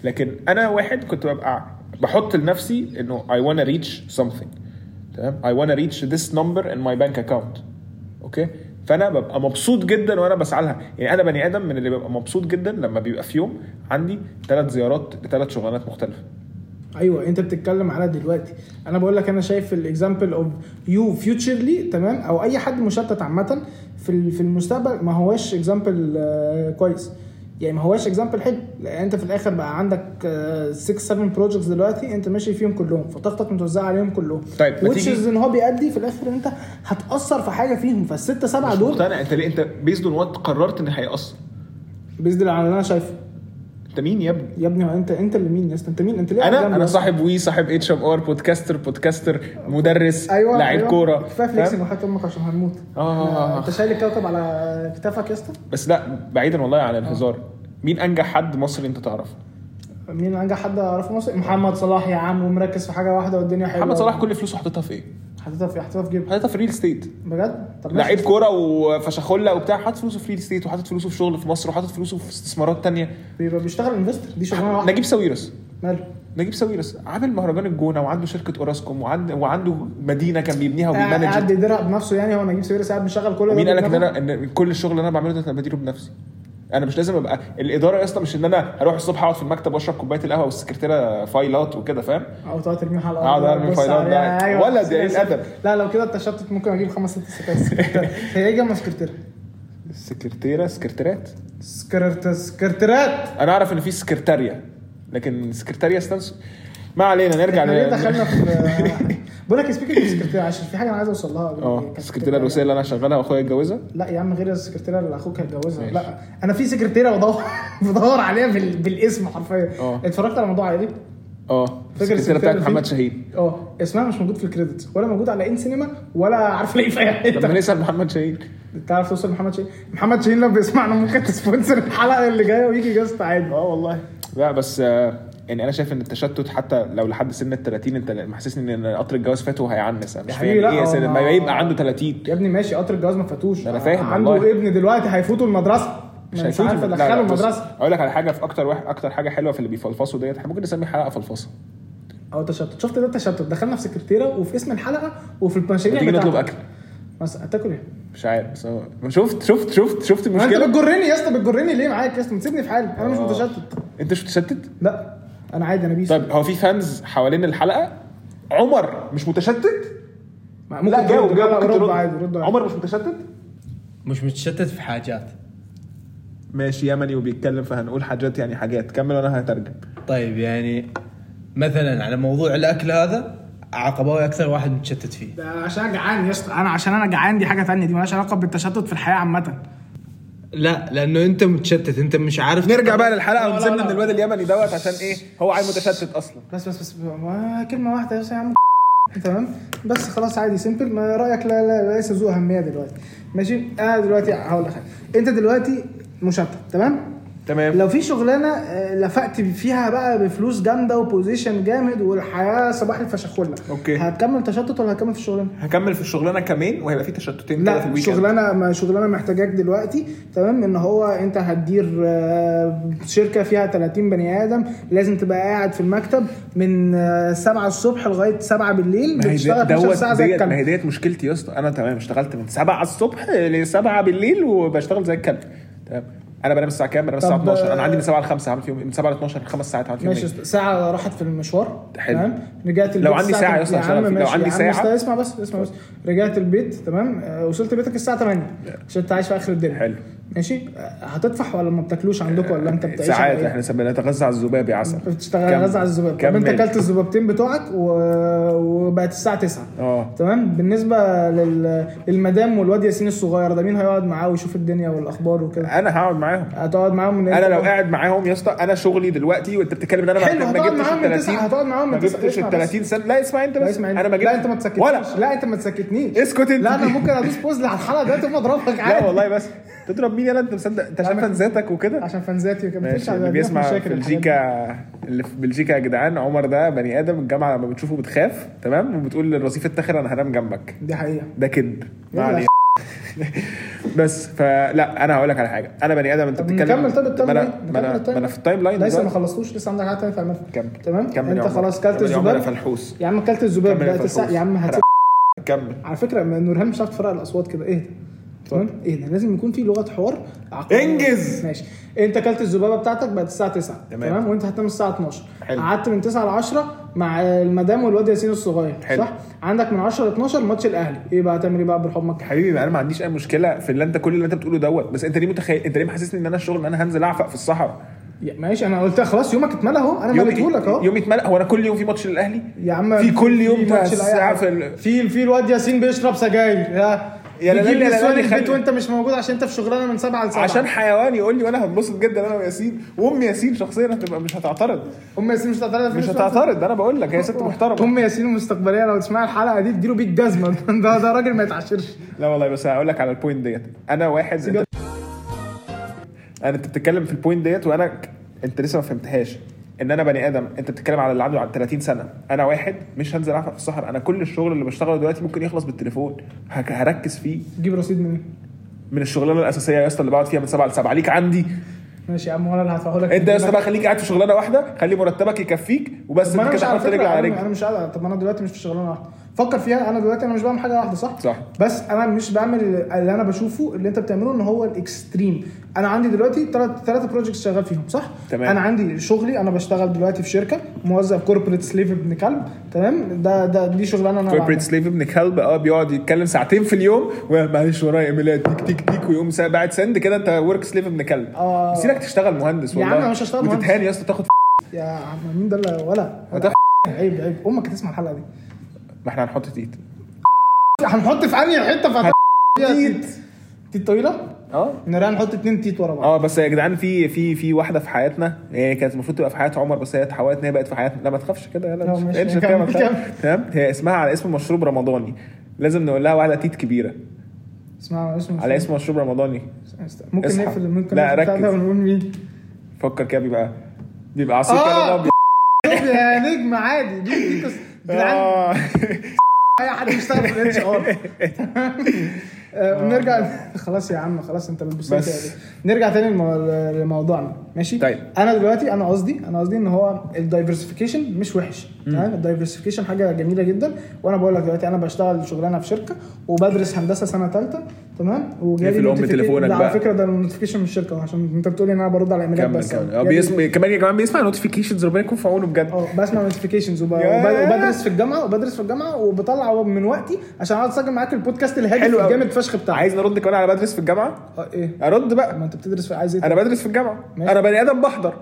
[SPEAKER 1] لكن انا واحد كنت ببقى بحط لنفسي انه I wanna reach something تمام I wanna reach this number in my bank account اوكي فانا ببقى مبسوط جدا وانا بسعى لها يعني انا بني ادم من اللي ببقى مبسوط جدا لما بيبقى في يوم عندي ثلاث زيارات لثلاث شغلانات مختلفه
[SPEAKER 2] ايوه انت بتتكلم على دلوقتي انا بقول لك انا شايف الاكزامبل اوف يو فيوتشرلي تمام او اي حد مشتت عامه في ال- في المستقبل ما هواش اكزامبل آه، كويس يعني ما هواش اكزامبل حلو لان انت في الاخر بقى عندك آه، 6 7 بروجكتس دلوقتي انت ماشي فيهم كلهم فطاقتك متوزعه عليهم كلهم
[SPEAKER 1] طيب، ما
[SPEAKER 2] وتش
[SPEAKER 1] تيجي-
[SPEAKER 2] ان هو بيأدي في الاخر انت هتاثر في حاجه فيهم فالسته سبعه
[SPEAKER 1] مش
[SPEAKER 2] آه، دول
[SPEAKER 1] مقتنع انت ليه انت بيزد اون وات قررت ان هيأثر
[SPEAKER 2] بيزدل على اللي انا شايفه
[SPEAKER 1] انت مين يا ابني
[SPEAKER 2] يا ابني هو انت انت اللي مين يا اسطى انت مين انت ليه قاعد
[SPEAKER 1] انا
[SPEAKER 2] جنبي
[SPEAKER 1] انا
[SPEAKER 2] أصلاً؟
[SPEAKER 1] صاحب وي صاحب اتش ام ار بودكاستر بودكاستر مدرس
[SPEAKER 2] ايوه
[SPEAKER 1] لاعب
[SPEAKER 2] أيوة.
[SPEAKER 1] كوره
[SPEAKER 2] كفايه
[SPEAKER 1] فاهم؟
[SPEAKER 2] فليكسنج وحياه امك عشان هنموت
[SPEAKER 1] آه.
[SPEAKER 2] انت شايل الكوكب على كتافك يا اسطى
[SPEAKER 1] بس لا بعيدا والله عن الهزار
[SPEAKER 2] آه.
[SPEAKER 1] مين انجح حد مصري انت تعرفه
[SPEAKER 2] مين انجح حد اعرفه مصر محمد صلاح يا عم ومركز في حاجه واحده والدنيا حلوه
[SPEAKER 1] محمد صلاح كل فلوسه حاططها في ايه
[SPEAKER 2] حاططها في حاططها في جيبه
[SPEAKER 1] حاططها في ريل ستيت
[SPEAKER 2] بجد طب ماشي.
[SPEAKER 1] لعيب كوره وفشخله وبتاع حاطط فلوسه في ريل ستيت وحاطط فلوسه في شغل في مصر وحاطط فلوسه في استثمارات تانية
[SPEAKER 2] بيبقى بيشتغل انفستر دي شغلانه واحده
[SPEAKER 1] نجيب ساويرس
[SPEAKER 2] ماله
[SPEAKER 1] نجيب ساويرس عامل مهرجان الجونه وعنده شركه اوراسكوم وعنده وعنده مدينه كان بيبنيها
[SPEAKER 2] آه، قاعد
[SPEAKER 1] وبيمانج
[SPEAKER 2] يدرع بنفسه يعني هو نجيب ساويرس قاعد مشغل كل ده
[SPEAKER 1] مين قالك ان
[SPEAKER 2] بنفسه؟
[SPEAKER 1] انا ان كل الشغل اللي انا بعمله ده انا بديله بنفسي انا مش لازم ابقى الاداره يا اسطى مش ان انا هروح الصبح اقعد في المكتب واشرب كوبايه القهوه والسكرتيره فايلات وكده فاهم
[SPEAKER 2] او تقعد ترميها على
[SPEAKER 1] أقعد
[SPEAKER 2] ولا
[SPEAKER 1] آه، أرمي
[SPEAKER 2] تبص
[SPEAKER 1] فايلات
[SPEAKER 2] عليها. أيوة.
[SPEAKER 1] بقى. ولا دي قليل أدب.
[SPEAKER 2] لا لو كده التشتت ممكن اجيب خمس ست سكرتيرات هي إيه جنب سكرتيره
[SPEAKER 1] سكرتيره سكرتيرات
[SPEAKER 2] سكرت سكرتيرات
[SPEAKER 1] انا اعرف ان في سكرتاريا لكن سكرتاريا ستانس ما علينا نرجع
[SPEAKER 2] احنا ليه
[SPEAKER 1] ل-
[SPEAKER 2] دخلنا في بقول لك سبيكر سكرتيره عشان في حاجه انا عايز اوصل لها
[SPEAKER 1] اه السكرتيره الروسيه اللي انا شغالها واخويا اتجوزها
[SPEAKER 2] لا يا عم غير السكرتيره اللي اخوك هيتجوزها
[SPEAKER 1] ماشي.
[SPEAKER 2] لا انا في سكرتيره بدور بدور عليها بال... بالاسم حرفيا
[SPEAKER 1] آه.
[SPEAKER 2] اتفرجت على موضوع عائلي
[SPEAKER 1] اه
[SPEAKER 2] فاكر
[SPEAKER 1] السكرتيره بتاعت
[SPEAKER 2] السكرتيرة
[SPEAKER 1] محمد
[SPEAKER 2] فين؟
[SPEAKER 1] شاهين
[SPEAKER 2] اه اسمها مش موجود في الكريدت ولا موجود على ان سينما ولا عارف ليه في اي
[SPEAKER 1] طب ما
[SPEAKER 2] حته
[SPEAKER 1] نسال محمد شاهين
[SPEAKER 2] تعرف توصل محمد شاهين محمد شاهين لو بيسمعنا ممكن تسبونسر الحلقه اللي جايه ويجي جاست عادي
[SPEAKER 1] اه والله لا بس آه، يعني انا شايف ان التشتت حتى لو لحد سن ال 30 انت محسسني ان قطر الجواز فات وهيعنس انا مش فاهم
[SPEAKER 2] حبيبي، لا،
[SPEAKER 1] ايه يا سيدي؟
[SPEAKER 2] هو-
[SPEAKER 1] ما يبقى عنده 30
[SPEAKER 2] يا ابني ماشي قطر الجواز ما فاتوش
[SPEAKER 1] أنا فاهم
[SPEAKER 2] عنده
[SPEAKER 1] والله.
[SPEAKER 2] ابن دلوقتي هيفوتوا المدرسه مش
[SPEAKER 1] هيفوتوا.
[SPEAKER 2] عارف
[SPEAKER 1] لا، لا،
[SPEAKER 2] ادخله
[SPEAKER 1] بص،
[SPEAKER 2] المدرسه
[SPEAKER 1] اقول لك على حاجه في اكتر واحد اكتر حاجه حلوه في اللي بيفلفصوا ديت إحنا ممكن نسمي حلقه فلفصه
[SPEAKER 2] او تشتت شفت ده التشتت دخلنا في سكرتيره وفي اسم الحلقه وفي المشاريع
[SPEAKER 1] تيجي نطلب
[SPEAKER 2] بتاعتك.
[SPEAKER 1] اكل
[SPEAKER 2] مثلا هتاكل ايه؟
[SPEAKER 1] مش عارف بس هو- شفت شفت شفت شفت
[SPEAKER 2] ما انت
[SPEAKER 1] المشكله
[SPEAKER 2] بتجرني يا اسطى بتجرني ليه معاك يا اسطى ما تسيبني في حالي انا مش
[SPEAKER 1] آه.
[SPEAKER 2] متشتت
[SPEAKER 1] انت مش متشتت
[SPEAKER 2] لا انا عادي انا بيس
[SPEAKER 1] طيب هو في فانز حوالين الحلقه عمر مش متشتت
[SPEAKER 2] ما- ممكن ترد، لا، لا،
[SPEAKER 1] ممكن
[SPEAKER 2] رد
[SPEAKER 1] ترد.
[SPEAKER 2] عادي رد عادي
[SPEAKER 1] عمر مش متشتت
[SPEAKER 3] مش متشتت في حاجات
[SPEAKER 1] ماشي يمني وبيتكلم فهنقول حاجات يعني حاجات كمل وانا هترجم
[SPEAKER 3] طيب يعني مثلا على موضوع الاكل هذا عقباوي اكثر واحد متشتت فيه
[SPEAKER 2] ده عشان انا جعان يا اسطى انا عشان انا جعان دي حاجه ثانيه دي مالهاش علاقه بالتشتت في الحياه عامه
[SPEAKER 3] لا لانه انت متشتت انت مش عارف
[SPEAKER 1] نرجع بقى للحلقه
[SPEAKER 2] لا، لا،
[SPEAKER 1] ونسيبنا
[SPEAKER 2] لا.
[SPEAKER 1] من الواد اليمني دوت عشان
[SPEAKER 2] إيه؟
[SPEAKER 1] ايه هو عيل متشتت اصلا
[SPEAKER 2] بس بس بس ما كلمه واحده يا أستاذ يا عم تمام بس خلاص عادي سيمبل ما رايك لا لا ليس ذو اهميه دلوقتي ماشي انا دلوقتي هقول لك حاجه انت دلوقتي مشتت تمام
[SPEAKER 1] تمام
[SPEAKER 2] لو في شغلانه آه، لفقت فيها بقى بفلوس جامده وبوزيشن جامد والحياه صباح الفشخوله
[SPEAKER 1] أوكي.
[SPEAKER 2] هتكمل تشتت ولا هتكمل في الشغلانه
[SPEAKER 1] هكمل في الشغلانه كمان وهيبقى في تشتتين كده في
[SPEAKER 2] لا
[SPEAKER 1] الويكند
[SPEAKER 2] شغلانه ما شغلانه محتاجاك دلوقتي تمام ان هو انت هتدير آه، شركه فيها 30 بني ادم لازم تبقى قاعد في المكتب من آه، 7 الصبح لغايه 7 بالليل
[SPEAKER 1] ما هي دي-
[SPEAKER 2] بتشتغل 12
[SPEAKER 1] دوت
[SPEAKER 2] ساعه زي
[SPEAKER 1] ديت ما هي
[SPEAKER 2] الكلب
[SPEAKER 1] ديت مشكلتي يا اسطى انا تمام اشتغلت من 7 الصبح ل 7 بالليل وبشتغل زي الكلب تمام انا بنام الساعه كام؟ بنام الساعه
[SPEAKER 2] طب،
[SPEAKER 1] 12 انا
[SPEAKER 2] آه،
[SPEAKER 1] عندي من 7 ل 5 هعمل فيهم من 7 ل 12 خمس ساعات هعمل فيهم
[SPEAKER 2] ماشي
[SPEAKER 1] إيه؟
[SPEAKER 2] ساعة راحت في المشوار
[SPEAKER 1] حلو.
[SPEAKER 2] تمام رجعت البيت
[SPEAKER 1] لو عندي
[SPEAKER 2] الساعة
[SPEAKER 1] ساعة
[SPEAKER 2] تم-
[SPEAKER 1] يا أسطى
[SPEAKER 2] يا
[SPEAKER 1] هشتغل
[SPEAKER 2] عم
[SPEAKER 1] فيها. لو
[SPEAKER 2] ماشي،
[SPEAKER 1] عندي
[SPEAKER 2] يا عم
[SPEAKER 1] ساعة-
[SPEAKER 2] اسمع- اسمع بس اسمع بس رجعت البيت تمام آه، وصلت بيتك الساعة 8 عشان انت عايش في اخر الدنيا
[SPEAKER 1] حلو.
[SPEAKER 2] ماشي آه، هتدفح ولا ما بتاكلوش عندكم ولا انت بتعيش على
[SPEAKER 1] ساعات
[SPEAKER 2] إيه؟
[SPEAKER 1] احنا سمينا نتغذى على الذباب يا عسل
[SPEAKER 2] بتشتغل
[SPEAKER 1] كمل.
[SPEAKER 2] غزة على الذباب طب انت
[SPEAKER 1] كمل.
[SPEAKER 2] اكلت الذبابتين بتوعك و... وبقت الساعه 9
[SPEAKER 1] اه
[SPEAKER 2] تمام بالنسبه لل... للمدام والواد ياسين الصغير ده مين هيقعد معاه ويشوف الدنيا والاخبار وكده
[SPEAKER 1] انا هقعد معاهم
[SPEAKER 2] هتقعد معاهم من
[SPEAKER 1] انا
[SPEAKER 2] امتى؟
[SPEAKER 1] لو قاعد معاهم يا اسطى انا شغلي دلوقتي وانت بتتكلم ان انا ما-
[SPEAKER 2] حلو،
[SPEAKER 1] ما
[SPEAKER 2] هتقعد
[SPEAKER 1] جبتش
[SPEAKER 2] معاهم من
[SPEAKER 1] ال
[SPEAKER 2] تسعة، هتقعد معاهم من
[SPEAKER 1] ما
[SPEAKER 2] تسعة،
[SPEAKER 1] جبتش
[SPEAKER 2] اسمع
[SPEAKER 1] ال
[SPEAKER 2] بس.
[SPEAKER 1] 30 سنه لا اسمع انت
[SPEAKER 2] لا
[SPEAKER 1] بس
[SPEAKER 2] اسمع انت.
[SPEAKER 1] انا ما جبتش
[SPEAKER 2] لا انت ما تسكتنيش
[SPEAKER 1] ولا
[SPEAKER 2] لا انت ما تسكتنيش
[SPEAKER 1] اسكت انت.
[SPEAKER 2] لا انا ممكن ادوس بوز على الحلقه دلوقتي واضربك
[SPEAKER 1] لا
[SPEAKER 2] عادي
[SPEAKER 1] والله بس تضرب مين يلا انت مصدق انت عشان
[SPEAKER 2] ما-
[SPEAKER 1] فانزاتك وكده
[SPEAKER 2] عشان فانزاتي وكده
[SPEAKER 1] ماشي
[SPEAKER 2] مفيش
[SPEAKER 1] اللي
[SPEAKER 2] عدد-
[SPEAKER 1] بيسمع
[SPEAKER 2] مشاكل
[SPEAKER 1] في
[SPEAKER 2] الحاجات دي.
[SPEAKER 1] بلجيكا اللي في بلجيكا يا جدعان عمر ده بني ادم الجامعه لما بتشوفه بتخاف تمام وبتقول للرصيف التاخر انا هنام جنبك
[SPEAKER 2] دي حقيقه
[SPEAKER 1] ده كذب ما
[SPEAKER 2] يلا.
[SPEAKER 1] علينا بس فلا انا هقول لك على حاجه انا بني ادم انت
[SPEAKER 2] طب
[SPEAKER 1] بتتكلم
[SPEAKER 2] نكمل طب التايم
[SPEAKER 1] ما
[SPEAKER 2] لاين
[SPEAKER 1] انا ما انا
[SPEAKER 2] نكمل
[SPEAKER 1] ما انا في التايم لاين
[SPEAKER 2] لا لسه ما
[SPEAKER 1] دلوقتي.
[SPEAKER 2] خلصتوش لسه عندك حاجه ثانيه تعملها
[SPEAKER 1] كمل
[SPEAKER 2] تمام
[SPEAKER 1] كمل يا
[SPEAKER 2] انت
[SPEAKER 1] عمر.
[SPEAKER 2] خلاص كلت طيب،
[SPEAKER 1] كمل يا عمر يا
[SPEAKER 2] الذباب
[SPEAKER 1] فلحوص
[SPEAKER 2] يا عم كلت الذباب
[SPEAKER 1] كمل يا
[SPEAKER 2] بقت الساعه
[SPEAKER 1] فلفوس.
[SPEAKER 2] يا عم هات
[SPEAKER 1] كمل
[SPEAKER 2] على فكره ما نورهان مش عارف تفرق الاصوات كده ايه تمام ايه ده لازم يكون في لغه حوار عقلية.
[SPEAKER 1] انجز!
[SPEAKER 2] ماشي انت اكلت الذبابه بتاعتك بقت الساعه 9
[SPEAKER 1] تمام.
[SPEAKER 2] تمام, وانت هتنام الساعه 12
[SPEAKER 1] حلو.
[SPEAKER 2] قعدت من 9 ل 10 مع المدام والواد ياسين الصغير
[SPEAKER 1] حلو.
[SPEAKER 2] صح عندك من 10 ل 12 ماتش الاهلي ايه بقى تعمل ايه بقى بالحمك
[SPEAKER 1] حبيبي انا ما عنديش اي مشكله في اللي انت كل اللي انت بتقوله دوت بس انت ليه متخيل انت ليه محسسني ان انا الشغل ان انا هنزل اعفق في الصحراء
[SPEAKER 2] يا- ماشي انا قلت خلاص يومك اتملى اهو انا مليته لك اهو
[SPEAKER 1] يوم يتملأ هو انا كل يوم في ماتش للاهلي
[SPEAKER 2] يا عم
[SPEAKER 1] في كل يوم
[SPEAKER 2] في ماتش
[SPEAKER 1] تسعة
[SPEAKER 2] الأهلي.
[SPEAKER 1] في ال-
[SPEAKER 2] في في الواد ياسين بيشرب سجاير يا
[SPEAKER 1] يا لا لا
[SPEAKER 2] بيجيب
[SPEAKER 1] لا لا
[SPEAKER 2] نسوان
[SPEAKER 1] لا،
[SPEAKER 2] البيت
[SPEAKER 1] خلي-
[SPEAKER 2] وانت مش موجود عشان انت في شغلانه من 7 ل 7
[SPEAKER 1] عشان حيوان يقول لي وانا هنبسط جدا انا وياسين وام ياسين شخصيا هتبقى مش هتعترض
[SPEAKER 2] ام ياسين مش هتعترض
[SPEAKER 1] مش هتعترض ده انا بقول لك هي ست محترمه
[SPEAKER 2] ام ياسين المستقبليه لو تسمع الحلقه دي اديله بيك جزمه ده ده راجل ما يتعشرش
[SPEAKER 1] لا والله بس هقول لك على البوينت ديت انا واحد انت انا انت بتتكلم في البوينت ديت وانا ك- انت لسه ما فهمتهاش ان انا بني ادم انت بتتكلم على اللي عنده على 30 سنه انا واحد مش هنزل اعفق في الصحراء انا كل الشغل اللي بشتغله دلوقتي ممكن يخلص بالتليفون هك- هركز فيه
[SPEAKER 2] تجيب رصيد منين؟
[SPEAKER 1] من الشغلانه الاساسيه يا اسطى اللي بقعد فيها من 7 ل 7 ليك عندي
[SPEAKER 2] ماشي يا عم وانا اللي هدفعه لك
[SPEAKER 1] انت إيه، يا اسطى بقى خليك قاعد في شغلانه واحده خلي مرتبك يكفيك وبس
[SPEAKER 2] ما انا
[SPEAKER 1] انت
[SPEAKER 2] مش
[SPEAKER 1] كده
[SPEAKER 2] على
[SPEAKER 1] حط رجل
[SPEAKER 2] فكره
[SPEAKER 1] على
[SPEAKER 2] انا
[SPEAKER 1] رجل
[SPEAKER 2] أنا مش قادر طب ما انا دلوقتي مش في شغلانه واحده فكر فيها انا دلوقتي انا مش بعمل حاجه واحده صح؟
[SPEAKER 1] صح.
[SPEAKER 2] بس انا مش بعمل اللي انا بشوفه اللي انت بتعمله ان هو الاكستريم انا عندي دلوقتي ثلاث ثلاثه بروجكتس شغال فيهم صح؟
[SPEAKER 1] تمام.
[SPEAKER 2] انا عندي شغلي انا بشتغل دلوقتي في شركه موظف كوربريت سليف ابن كلب تمام ده ده دي شغلانه انا
[SPEAKER 1] كوربريت
[SPEAKER 2] بعملها.
[SPEAKER 1] سليف ابن كلب اه بيقعد يتكلم ساعتين في اليوم ومعلش ورايا ايميلات تيك تيك تيك ويقوم سا- باعت سند كده انت ورك سليف ابن كلب
[SPEAKER 2] آه.
[SPEAKER 1] سيبك تشتغل مهندس
[SPEAKER 2] يا
[SPEAKER 1] والله
[SPEAKER 2] عم أنا مش هشتغل مهندس.
[SPEAKER 1] وتتهان يا اسطى تاخد
[SPEAKER 2] يا عم مين ده اللي ولا
[SPEAKER 1] هتاخد-
[SPEAKER 2] عيب عيب امك هتسمع الحلقه دي
[SPEAKER 1] ما احنا هنحط تيت
[SPEAKER 2] هنحط في انهي حته فهت... تيت تيت طويله
[SPEAKER 1] اه
[SPEAKER 2] نرى نحط اتنين تيت ورا بعض
[SPEAKER 1] اه بس يا جدعان في في في واحده في حياتنا هي كانت المفروض تبقى في حياه عمر بس هي اتحولت ان هي بقت في حياتنا لا ما تخافش كده يلا
[SPEAKER 2] لا،
[SPEAKER 1] مش-
[SPEAKER 2] ماشي.
[SPEAKER 1] مش
[SPEAKER 2] كمل،
[SPEAKER 1] هتعمل حاجة.
[SPEAKER 2] كمل.
[SPEAKER 1] تمام هي اسمها على اسم مشروب رمضاني لازم نقول لها واحده تيت كبيره
[SPEAKER 2] اسمع اسمه
[SPEAKER 1] أه. على اسم مشروب رمضاني
[SPEAKER 2] ممكن
[SPEAKER 1] اصحى.
[SPEAKER 2] نقفل ممكن
[SPEAKER 1] لا،
[SPEAKER 2] نقفل بتاع
[SPEAKER 1] ركز.
[SPEAKER 2] ده ونقول مين
[SPEAKER 1] فكر كده بيبقى بيبقى عصير
[SPEAKER 2] آه.
[SPEAKER 1] كده ابيض
[SPEAKER 2] طب يا نجم عادي دي دي قصة. جدعان
[SPEAKER 1] آه.
[SPEAKER 2] اي حد بيشتغل في الاتش ار نرجع خلاص يا عم خلاص انت بتبص
[SPEAKER 1] بس.
[SPEAKER 2] كده. نرجع تاني لمو- لموضوعنا ماشي
[SPEAKER 1] طيب.
[SPEAKER 2] انا دلوقتي انا قصدي انا قصدي ان هو الدايفرسيفيكيشن مش وحش تمام الدايفرسيفيكيشن حاجه جميله جدا وانا بقول لك دلوقتي انا بشتغل شغلانه في شركه وبدرس هندسه سنه ثالثه تمام
[SPEAKER 1] يقفل أم
[SPEAKER 2] notification-
[SPEAKER 1] إيه، تليفونك
[SPEAKER 2] لا، على
[SPEAKER 1] بقى.
[SPEAKER 2] فكره ده النوتيفيكيشن من الشركه أهو، عشان انت بتقولي ان انا برد على الايميلات
[SPEAKER 1] كمل
[SPEAKER 2] بس
[SPEAKER 1] كمل اه
[SPEAKER 2] يعني
[SPEAKER 1] بيسمع كمان يا جماعه بيسمع نوتيفيكيشنز ربنا يكون في عونه بجد
[SPEAKER 2] اه بسمع نوتيفيكيشنز
[SPEAKER 1] ياه.
[SPEAKER 2] وبدرس في الجامعه وبدرس في الجامعه وبطلع من وقتي عشان اقعد اسجل معاك البودكاست الهادف
[SPEAKER 1] حلو أوي.
[SPEAKER 2] الجامد فشخ بتاعك
[SPEAKER 1] عايز نرد كمان على بدرس في الجامعه
[SPEAKER 2] اه ايه
[SPEAKER 1] ارد بقى
[SPEAKER 2] ما انت بتدرس في عايز ايه
[SPEAKER 1] انا بدرس في الجامعه
[SPEAKER 2] ماشي.
[SPEAKER 1] انا بني ادم بحضر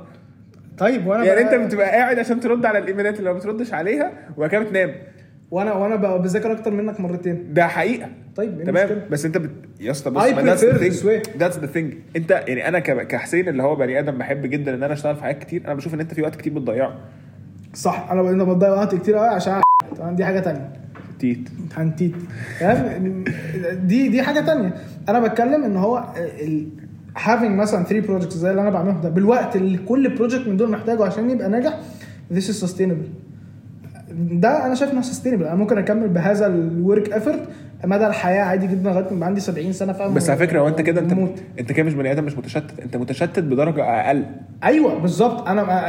[SPEAKER 2] طيب وانا
[SPEAKER 1] يعني
[SPEAKER 2] بقى-
[SPEAKER 1] انت بتبقى قاعد عشان ترد على الايميلات اللي ما بتردش عليها وبعد كده بتنام
[SPEAKER 2] وانا وانا بقى بذاكر اكتر منك مرتين
[SPEAKER 1] ده حقيقه
[SPEAKER 2] طيب ايه
[SPEAKER 1] تمام
[SPEAKER 2] المشكله
[SPEAKER 1] بس انت بت... يا اسطى بص
[SPEAKER 2] I
[SPEAKER 1] ذاتس
[SPEAKER 2] prefer
[SPEAKER 1] ذا
[SPEAKER 2] this way.
[SPEAKER 1] ثينج ذاتس ذا ثينج انت يعني انا ك- كحسين اللي هو بني ادم بحب جدا ان انا اشتغل في حاجات كتير انا بشوف ان انت في وقت كتير بتضيعه
[SPEAKER 2] صح انا بقى- انا بضيع وقت كتير قوي عشان أعمل- تمام دي حاجه تانية اه.
[SPEAKER 1] تيت
[SPEAKER 2] هنتيت فاهم دي دي حاجه تانية انا بتكلم ان هو ال having مثلا 3 projects زي اللي انا بعمله ده بالوقت اللي كل بروجكت من دول محتاجه عشان يبقى ناجح this is sustainable ده انا شايف انه sustainable انا ممكن اكمل بهذا الورك افورت مدى الحياه عادي جدا لغايه ما يبقى عندي 70 سنه فاهم
[SPEAKER 1] بس على فكره هو انت كده انت
[SPEAKER 2] موت.
[SPEAKER 1] انت كده مش بني ادم مش متشتت انت متشتت بدرجه اقل
[SPEAKER 2] ايوه بالظبط انا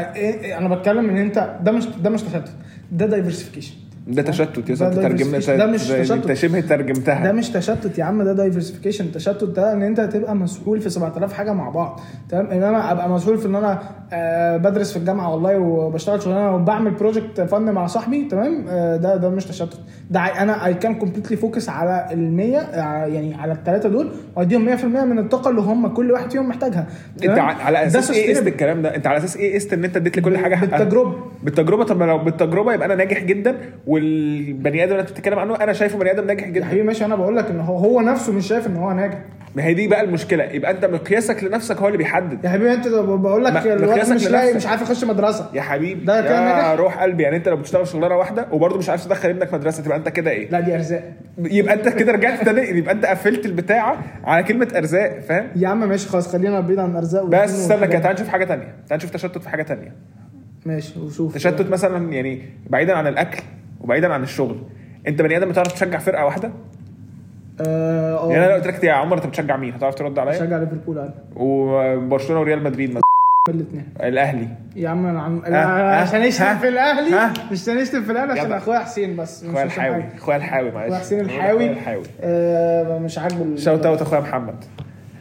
[SPEAKER 2] انا بتكلم ان انت ده مش ده مش تشتت ده دايفرسيفيكيشن
[SPEAKER 1] ده تشتت يا اسطى
[SPEAKER 2] ده-
[SPEAKER 1] انت
[SPEAKER 2] ده
[SPEAKER 1] ترجمنا
[SPEAKER 2] diversification. ده مش
[SPEAKER 1] ده-
[SPEAKER 2] تشتت.
[SPEAKER 1] انت شبه ترجمتها
[SPEAKER 2] ده مش تشتت يا عم ده دايفرسيفيكيشن التشتت ده ان انت هتبقى مسؤول في 7000 حاجه مع بعض تمام انما ابقى مسؤول في ان انا آه، بدرس في الجامعه والله وبشتغل شغلانه وبعمل بروجكت فن مع صاحبي تمام آه، ده ده مش تشتت ده عي- انا اي كان كومبليتلي فوكس على ال 100 آه، يعني على الثلاثه دول واديهم 100% من الطاقه اللي هم كل واحد فيهم محتاجها
[SPEAKER 1] انت
[SPEAKER 2] تمام؟
[SPEAKER 1] ع- على
[SPEAKER 2] ده
[SPEAKER 1] اساس ايه قست
[SPEAKER 2] sustainable.
[SPEAKER 1] الكلام ده انت على اساس ايه قست ان انت اديت لكل حاجه حقها
[SPEAKER 2] بالتجربه
[SPEAKER 1] بالتجربه طب ما لو بالتجربه يبقى انا ناجح جدا والبني ادم اللي انت بتتكلم عنه انا شايفه بني ادم ناجح
[SPEAKER 2] يا
[SPEAKER 1] جدا
[SPEAKER 2] حبيبي ماشي انا بقول لك ان هو هو نفسه مش شايف ان هو ناجح
[SPEAKER 1] ما هي دي بقى المشكله يبقى انت مقياسك لنفسك هو اللي بيحدد
[SPEAKER 2] يا حبيبي انت بقول
[SPEAKER 1] ما-
[SPEAKER 2] لك الواد
[SPEAKER 1] مقياسك
[SPEAKER 2] مش لاقي
[SPEAKER 1] لنفسك.
[SPEAKER 2] مش عارف يخش مدرسه
[SPEAKER 1] يا حبيبي
[SPEAKER 2] ده كده
[SPEAKER 1] يا
[SPEAKER 2] نجح؟
[SPEAKER 1] روح قلبي يعني انت لو بتشتغل شغلانه واحده وبرضه مش عارف تدخل ابنك مدرسه تبقى انت كده ايه
[SPEAKER 2] لا دي ارزاق
[SPEAKER 1] يبقى انت كده رجعت تاني يبقى انت قفلت البتاعه على كلمه ارزاق فاهم
[SPEAKER 2] يا عم ماشي خلاص خلينا بعيد عن ارزاق
[SPEAKER 1] بس استنى كده
[SPEAKER 2] والحاجات.
[SPEAKER 1] تعال نشوف حاجه تانية تعال نشوف تشتت في حاجه تانية
[SPEAKER 2] ماشي وشوف
[SPEAKER 1] تشتت مثلا يعني بعيدا عن الاكل وبعيدا عن الشغل انت بني ادم بتعرف تشجع فرقه واحده
[SPEAKER 2] اه
[SPEAKER 1] يعني انا لو
[SPEAKER 2] اه
[SPEAKER 1] قلت لك يا عمر انت بتشجع مين هتعرف ترد عليا
[SPEAKER 2] بشجع ليفربول انا
[SPEAKER 1] وبرشلونه وريال مدريد مثلا
[SPEAKER 2] الاثنين
[SPEAKER 1] الاهلي
[SPEAKER 2] يا عم انا
[SPEAKER 1] آه،
[SPEAKER 2] عم
[SPEAKER 1] ها؟
[SPEAKER 2] عشان
[SPEAKER 1] ها؟
[SPEAKER 2] نشتم في الاهلي
[SPEAKER 1] ها؟
[SPEAKER 2] مش هنشتم في الاهلي عشان
[SPEAKER 1] جدع.
[SPEAKER 2] اخويا حسين بس مش
[SPEAKER 1] اخويا
[SPEAKER 2] عشان
[SPEAKER 1] آه. الحاوي
[SPEAKER 2] حاجة.
[SPEAKER 1] اخويا الحاوي معلش
[SPEAKER 2] اخويا حسين
[SPEAKER 1] اخويا
[SPEAKER 2] الحاوي
[SPEAKER 1] الحاوي
[SPEAKER 2] آه، مش عاجبه ال-
[SPEAKER 1] شوت اوت اخويا محمد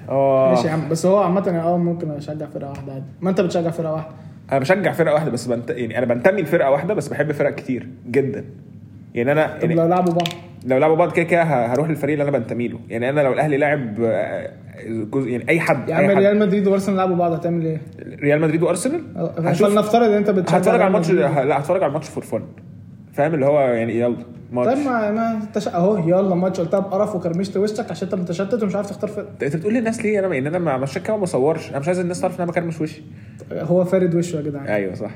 [SPEAKER 1] اه
[SPEAKER 2] ماشي يا عم بس هو عامة أنا اه ممكن اشجع فرقة واحدة عادي ما انت بتشجع فرقة واحدة
[SPEAKER 1] انا بشجع فرقه واحده بس بنت... يعني انا بنتمي لفرقه واحده بس بحب فرق كتير جدا يعني انا
[SPEAKER 2] طب
[SPEAKER 1] يعني
[SPEAKER 2] لو لعبوا بعض
[SPEAKER 1] لو لعبوا بعض كده كده ه- هروح للفريق اللي انا بنتمي له يعني انا لو الاهلي لعب آه، جزء يعني اي حد
[SPEAKER 2] يا عم
[SPEAKER 1] أي حد.
[SPEAKER 2] ريال أه، مدريد وارسنال لعبوا بعض هتعمل ايه؟
[SPEAKER 1] ريال مدريد وارسنال هشوف-
[SPEAKER 2] فلنفترض ان انت بتشجع
[SPEAKER 1] هتفرج على
[SPEAKER 2] ريال
[SPEAKER 1] الماتش
[SPEAKER 2] مدريد.
[SPEAKER 1] لا هتفرج على الماتش فور فن فاهم اللي هو يعني يلا
[SPEAKER 2] طيب
[SPEAKER 1] ماتش
[SPEAKER 2] ما ما انت شا- اهو يلا ماتش قلتها بقرف وكرمشت وشك عشان انت متشتت ومش عارف تختار فرقة
[SPEAKER 1] انت بتقول للناس ليه انا ان انا ما- عشان كده ما بصورش انا مش عايز الناس تعرف ان انا بكرمش وشي
[SPEAKER 2] هو فارد وشه يا جدعان
[SPEAKER 1] ايوه صح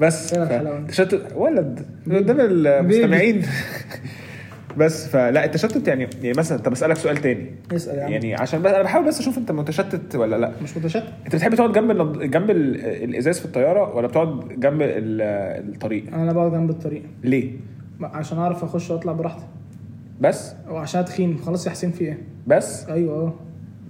[SPEAKER 1] بس
[SPEAKER 2] يلا
[SPEAKER 1] ف-
[SPEAKER 2] الحلاوة.
[SPEAKER 1] تشتت ولد قدام المستمعين بس فلا التشتت يعني يعني مثلا طب اسالك سؤال تاني
[SPEAKER 2] اسال يا عم
[SPEAKER 1] يعني عشان بس انا بحاول بس اشوف انت متشتت ولا لا
[SPEAKER 2] مش متشتت
[SPEAKER 1] انت بتحب تقعد جنب النض- جنب ال- الازاز في الطياره ولا بتقعد جنب ال- الطريق
[SPEAKER 2] انا بقعد جنب الطريق
[SPEAKER 1] ليه
[SPEAKER 2] ما- عشان اعرف اخش واطلع براحتي
[SPEAKER 1] بس
[SPEAKER 2] وعشان تخين خلاص يا حسين في ايه؟
[SPEAKER 1] بس
[SPEAKER 2] ايوه اه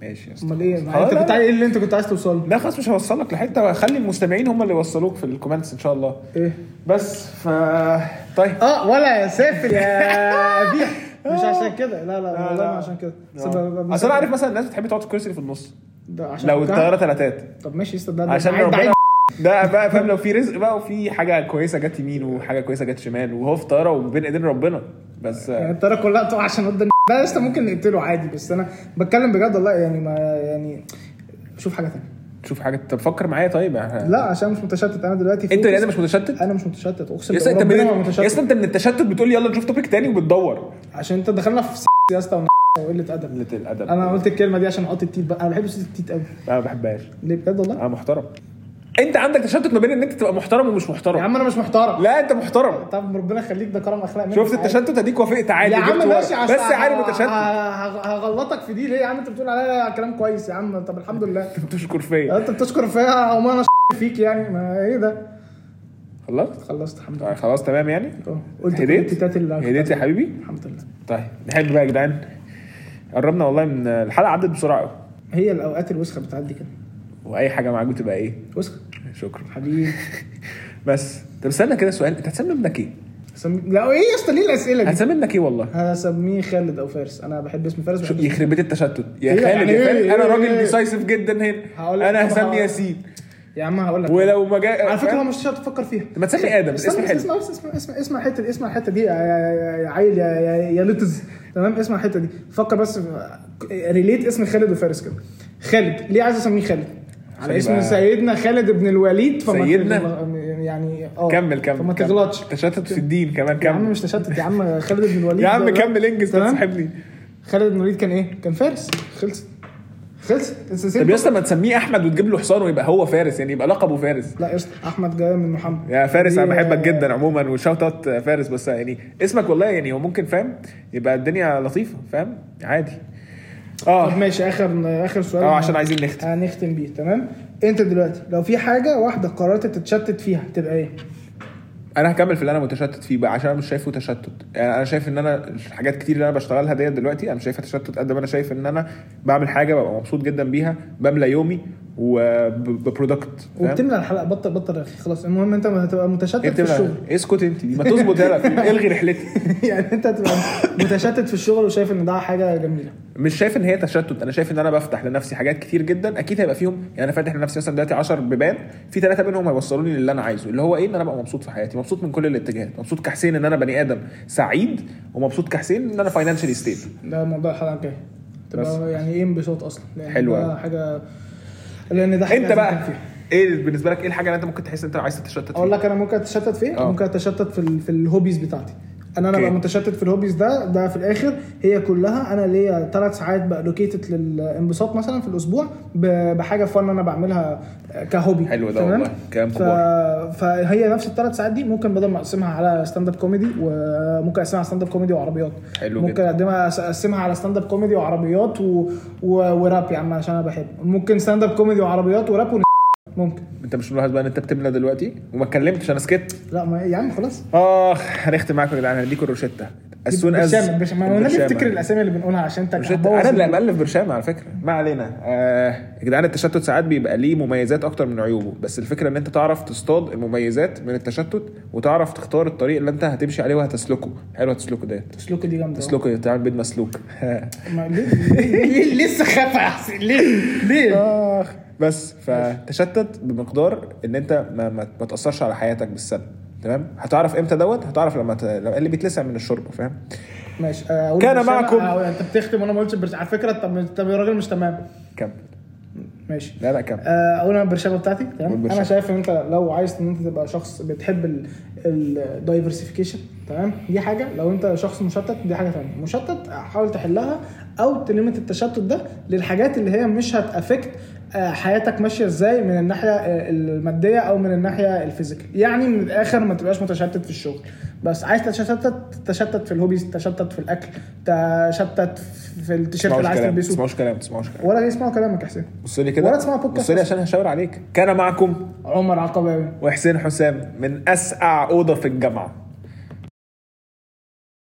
[SPEAKER 1] ماشي يا اسطى.
[SPEAKER 2] امال ايه؟
[SPEAKER 1] خلاص،
[SPEAKER 2] انت
[SPEAKER 1] لا،
[SPEAKER 2] كنت
[SPEAKER 1] لا.
[SPEAKER 2] عايز ايه اللي انت كنت عايز توصله؟
[SPEAKER 1] لا خلاص مش هوصلك لحته خلي المستمعين هم اللي يوصلوك في الكومنتس ان شاء الله
[SPEAKER 2] ايه؟
[SPEAKER 1] بس ف طيب أه،
[SPEAKER 2] اه ولا يا سافل يا ابيح مش
[SPEAKER 1] آه.
[SPEAKER 2] عشان كده لا لا والله ما عشان كده سبب-
[SPEAKER 1] اصل انا آه. عارف مثلا الناس بتحب تقعد في الكرسي اللي في النص
[SPEAKER 2] ده عشان
[SPEAKER 1] لو
[SPEAKER 2] بتاع-
[SPEAKER 1] الطياره ثلاثات
[SPEAKER 2] طب ماشي استنى ده
[SPEAKER 1] عشان
[SPEAKER 2] عايز- ده
[SPEAKER 1] ربنا
[SPEAKER 2] عايز-
[SPEAKER 1] ده بقى فاهم لو في رزق بقى وفي حاجه كويسه جت يمين وحاجه كويسه جت شمال وهو في طياره وبين ايدين ربنا بس
[SPEAKER 2] يعني الطياره كلها تقع عشان قدام ده لسه ممكن نقتله عادي بس انا بتكلم بجد والله يعني ما يعني شوف حاجه ثانيه
[SPEAKER 1] شوف حاجه طب فكر معايا طيب احنا-
[SPEAKER 2] لا عشان مش متشتت انا دلوقتي
[SPEAKER 1] انت
[SPEAKER 2] فوكس.
[SPEAKER 1] يعني مش متشتت
[SPEAKER 2] انا مش متشتت اقسم
[SPEAKER 1] يا اسطى
[SPEAKER 2] بالله
[SPEAKER 1] انت
[SPEAKER 2] ربنا ما
[SPEAKER 1] من يا
[SPEAKER 2] متشتت
[SPEAKER 1] اسطى انت من التشتت بتقول يلا نشوف توبيك تاني وبتدور
[SPEAKER 2] عشان انت دخلنا في س- يا اسطى ون- وقله ادب
[SPEAKER 1] قله الادب
[SPEAKER 2] انا قلت الكلمه دي عشان احط التيت بقى انا بحب صوت التيت قوي
[SPEAKER 1] انا ما بحبهاش
[SPEAKER 2] ليه بجد والله
[SPEAKER 1] انا محترم انت عندك تشتت ما بين ان انت تبقى محترم ومش محترم
[SPEAKER 2] يا عم انا مش محترم
[SPEAKER 1] لا انت محترم
[SPEAKER 2] طب ربنا يخليك ده كرم اخلاق منك
[SPEAKER 1] شفت
[SPEAKER 2] عادي.
[SPEAKER 1] التشتت اديك وافقت عادي
[SPEAKER 2] يا عم
[SPEAKER 1] جبت ورق.
[SPEAKER 2] ماشي عشان
[SPEAKER 1] بس عارف متشتت
[SPEAKER 2] هغلطك في دي ليه يا عم انت بتقول عليا كلام كويس يا عم طب الحمد لله
[SPEAKER 1] بتشكر فيا
[SPEAKER 2] انت بتشكر فيا او ما انا فيك يعني ما ايه ده
[SPEAKER 1] خلصت
[SPEAKER 2] خلصت الحمد
[SPEAKER 1] آه،
[SPEAKER 2] لله
[SPEAKER 1] خلاص تمام يعني
[SPEAKER 2] اه، قلت كل
[SPEAKER 1] هديت
[SPEAKER 2] التيتات اللي
[SPEAKER 1] هديت يا حبيبي
[SPEAKER 2] الحمد لله
[SPEAKER 1] طيب نحب بقى يا جدعان قربنا والله من الحلقه عدت بسرعه قوي
[SPEAKER 2] هي الاوقات الوسخه بتعدي كده
[SPEAKER 1] واي حاجه معاكم تبقى ايه
[SPEAKER 2] وسخه
[SPEAKER 1] شكرا
[SPEAKER 2] حبيبي
[SPEAKER 1] بس طب استنى كده سؤال انت هتسمي ابنك ايه
[SPEAKER 2] سمي... لا ايه يا اسطى ليه الاسئله دي
[SPEAKER 1] هتسمي ابنك ايه والله
[SPEAKER 2] هسميه خالد او فارس انا بحب اسم فارس
[SPEAKER 1] شو
[SPEAKER 2] بحب اسم-
[SPEAKER 1] يخرب بيت التشتت يا
[SPEAKER 2] ايه
[SPEAKER 1] خالد
[SPEAKER 2] يعني
[SPEAKER 1] يا
[SPEAKER 2] ايه؟
[SPEAKER 1] خالد انا
[SPEAKER 2] ايه
[SPEAKER 1] راجل
[SPEAKER 2] ايه؟
[SPEAKER 1] ديسايسيف جدا
[SPEAKER 2] هقول لك
[SPEAKER 1] هنا انا
[SPEAKER 2] طبعا.
[SPEAKER 1] هسمي ياسين
[SPEAKER 2] يا عم هقول لك
[SPEAKER 1] ولو ما جاء
[SPEAKER 2] على فكره مش شرط تفكر فيها
[SPEAKER 1] ما تسمي آدم،
[SPEAKER 2] استنى،
[SPEAKER 1] اسم حلو.
[SPEAKER 2] اسمع اسمع اسمع اسمع الحته دي اسمع الحته دي يا- يا يا- يا عيل يا يا, يا لطز تمام اسمع الحته دي فكر بس في- ريليت اسم خالد وفارس كده خالد ليه عايز اسميه خالد؟ على
[SPEAKER 1] عشان
[SPEAKER 2] اسم
[SPEAKER 1] يبقى-
[SPEAKER 2] سيدنا خالد بن الوليد فما
[SPEAKER 1] سيدنا؟
[SPEAKER 2] يعني اه
[SPEAKER 1] كمل كمل
[SPEAKER 2] فما
[SPEAKER 1] كمل.
[SPEAKER 2] تغلطش
[SPEAKER 1] تشتت في الدين كمان
[SPEAKER 2] يا عم
[SPEAKER 1] كمل
[SPEAKER 2] مش تشتت يا عم خالد بن الوليد
[SPEAKER 1] يا عم
[SPEAKER 2] ده-
[SPEAKER 1] كمل انجز
[SPEAKER 2] تمام؟
[SPEAKER 1] تسحبني
[SPEAKER 2] خالد بن الوليد كان ايه؟ كان فارس خلصت خلصت السلسلة
[SPEAKER 1] طب يا اسطى ما تسميه احمد وتجيب له حصان ويبقى هو فارس يعني يبقى لقبه فارس
[SPEAKER 2] لا قشطه احمد جاي من محمد
[SPEAKER 1] يا فارس انا
[SPEAKER 2] دي-
[SPEAKER 1] بحبك جدا عموما وشوت اوت فارس بس يعني اسمك والله يعني هو ممكن فاهم يبقى الدنيا لطيفه فاهم عادي
[SPEAKER 2] طب
[SPEAKER 1] اه
[SPEAKER 2] ماشي اخر اخر سؤال
[SPEAKER 1] اه عشان عايزين نختم
[SPEAKER 2] هنختم بيه تمام انت دلوقتي لو في حاجه واحده قررت تتشتت فيها تبقى ايه
[SPEAKER 1] انا هكمل في اللي انا متشتت فيه بقى عشان انا مش شايفه تشتت يعني انا شايف ان انا حاجات كتير اللي انا بشتغلها ديت دلوقتي انا مش شايفها تشتت قد ما انا شايف ان انا بعمل حاجه ببقى مبسوط جدا بيها بملى يومي وبرودكت
[SPEAKER 2] وبتملى الحلقه بطل بطل يا اخي خلاص المهم انت هتبقى متشتت
[SPEAKER 1] ايه
[SPEAKER 2] في الشغل
[SPEAKER 1] إيه اسكت انت دي ما تظبط يلا الغي رحلتي
[SPEAKER 2] يعني انت هتبقى متشتت في الشغل وشايف ان ده حاجه جميله
[SPEAKER 1] مش شايف ان هي تشتت انا شايف ان انا بفتح لنفسي حاجات كتير جدا اكيد هيبقى فيهم يعني انا فاتح لنفسي مثلا دلوقتي 10 بيبان في ثلاثه منهم هيوصلوني للي انا عايزه اللي هو ايه ان انا ابقى مبسوط في حياتي مبسوط من كل الاتجاهات مبسوط كحسين ان انا بني ادم سعيد ومبسوط كحسين ان انا فاينانشالي ستيبل
[SPEAKER 2] ده موضوع الحلقه الجايه
[SPEAKER 1] بس.
[SPEAKER 2] تبقى يعني ايه انبساط اصلا لان
[SPEAKER 1] حلو
[SPEAKER 2] ده
[SPEAKER 1] أوي.
[SPEAKER 2] حاجه لان ده حاجة
[SPEAKER 1] انت
[SPEAKER 2] لازم
[SPEAKER 1] بقى
[SPEAKER 2] نتكلم فيها.
[SPEAKER 1] ايه بالنسبه لك ايه الحاجه اللي انت ممكن تحس انت عايز تتشتت
[SPEAKER 2] اقول
[SPEAKER 1] فيها
[SPEAKER 2] لك انا ممكن اتشتت في ايه
[SPEAKER 1] آه.
[SPEAKER 2] ممكن اتشتت في ال- في الهوبيز بتاعتي انا انا
[SPEAKER 1] أوكي.
[SPEAKER 2] بقى متشتت في الهوبيز ده ده في الاخر هي كلها انا ليا ثلاث ساعات بالوكيتد للانبساط مثلا في الاسبوع ب- بحاجه فن انا بعملها كهوبي
[SPEAKER 1] حلو ده
[SPEAKER 2] تمام؟
[SPEAKER 1] والله، كلام
[SPEAKER 2] ف...
[SPEAKER 1] كبار.
[SPEAKER 2] فهي نفس الثلاث ساعات دي ممكن بدل ما اقسمها على ستاند اب كوميدي وممكن اقسمها على ستاند اب كوميدي وعربيات
[SPEAKER 1] حلو
[SPEAKER 2] ممكن
[SPEAKER 1] جدا.
[SPEAKER 2] اقدمها أس- اقسمها على ستاند اب كوميدي وعربيات و... و... وراب يا عم عشان انا بحب ممكن ستاند اب كوميدي وعربيات وراب ون... ممكن
[SPEAKER 1] انت مش ملاحظ بقى ان انت بتملى دلوقتي وما اتكلمتش انا سكت
[SPEAKER 2] لا ما يا عم خلاص
[SPEAKER 1] اخ هنختم معاكم يا جدعان هنديكم الروشته as soon as
[SPEAKER 2] برشام- برشام- ما هو النبي
[SPEAKER 1] برشام.
[SPEAKER 2] افتكر الاسامي اللي بنقولها عشان انت
[SPEAKER 1] مش أنت- انا اللي مالف برشام على فكره ما علينا آه، يا جدعان التشتت ساعات بيبقى ليه مميزات اكتر من عيوبه بس الفكره ان انت تعرف تصطاد المميزات من التشتت وتعرف تختار الطريق اللي انت هتمشي عليه وهتسلكه حلوه تسلكه ديت
[SPEAKER 2] سلوكي دي جامده
[SPEAKER 1] تسلكه دي بتعمل بيت مسلوك
[SPEAKER 2] ما- ليه ليه ليه السخافه يا حسين ليه ليه
[SPEAKER 1] اخ بس فتشتت بمقدار ان انت ما, ما, ما تاثرش على حياتك بالسلب تمام هتعرف امتى دوت هتعرف لما ت... لما- اللي بيتلسع من الشوربه فاهم
[SPEAKER 2] ماشي آه، أقول
[SPEAKER 1] كان
[SPEAKER 2] برشام-
[SPEAKER 1] معكم-
[SPEAKER 2] آه، انت بتختم وانا ما قلتش برشام. على فكره طب طب يا راجل مش تمام
[SPEAKER 1] كمل
[SPEAKER 2] ماشي
[SPEAKER 1] لا لا كمل
[SPEAKER 2] آه، اقول انا البرشامه بتاعتي
[SPEAKER 1] قول
[SPEAKER 2] تمام
[SPEAKER 1] برشامة.
[SPEAKER 2] انا شايف ان انت لو عايز ان انت تبقى شخص بتحب الدايفرسيفيكيشن تمام دي حاجه لو انت شخص مشتت دي حاجه ثانيه مشتت حاول تحلها او تلمت التشتت ده للحاجات اللي هي مش هتافكت آه، حياتك ماشيه ازاي من الناحيه آه، الماديه او من الناحيه الفيزيكال يعني من الاخر ما تبقاش متشتت في الشغل بس عايز تتشتت تشتت في الهوبيز تشتت في الاكل تشتت في التيشيرت
[SPEAKER 1] تسمعوش
[SPEAKER 2] اللي عايز
[SPEAKER 1] كلام
[SPEAKER 2] تلبسه
[SPEAKER 1] تسمعوش كلام تسمعوش كلام
[SPEAKER 2] ولا يسمعوا كلامك يا حسين
[SPEAKER 1] بص لي كده
[SPEAKER 2] ولا تسمع بودكاست
[SPEAKER 1] بص لي
[SPEAKER 2] أصلاً.
[SPEAKER 1] عشان هشاور عليك كان معكم
[SPEAKER 2] عمر عقباوي
[SPEAKER 1] وحسين حسام من اسقع اوضه في الجامعه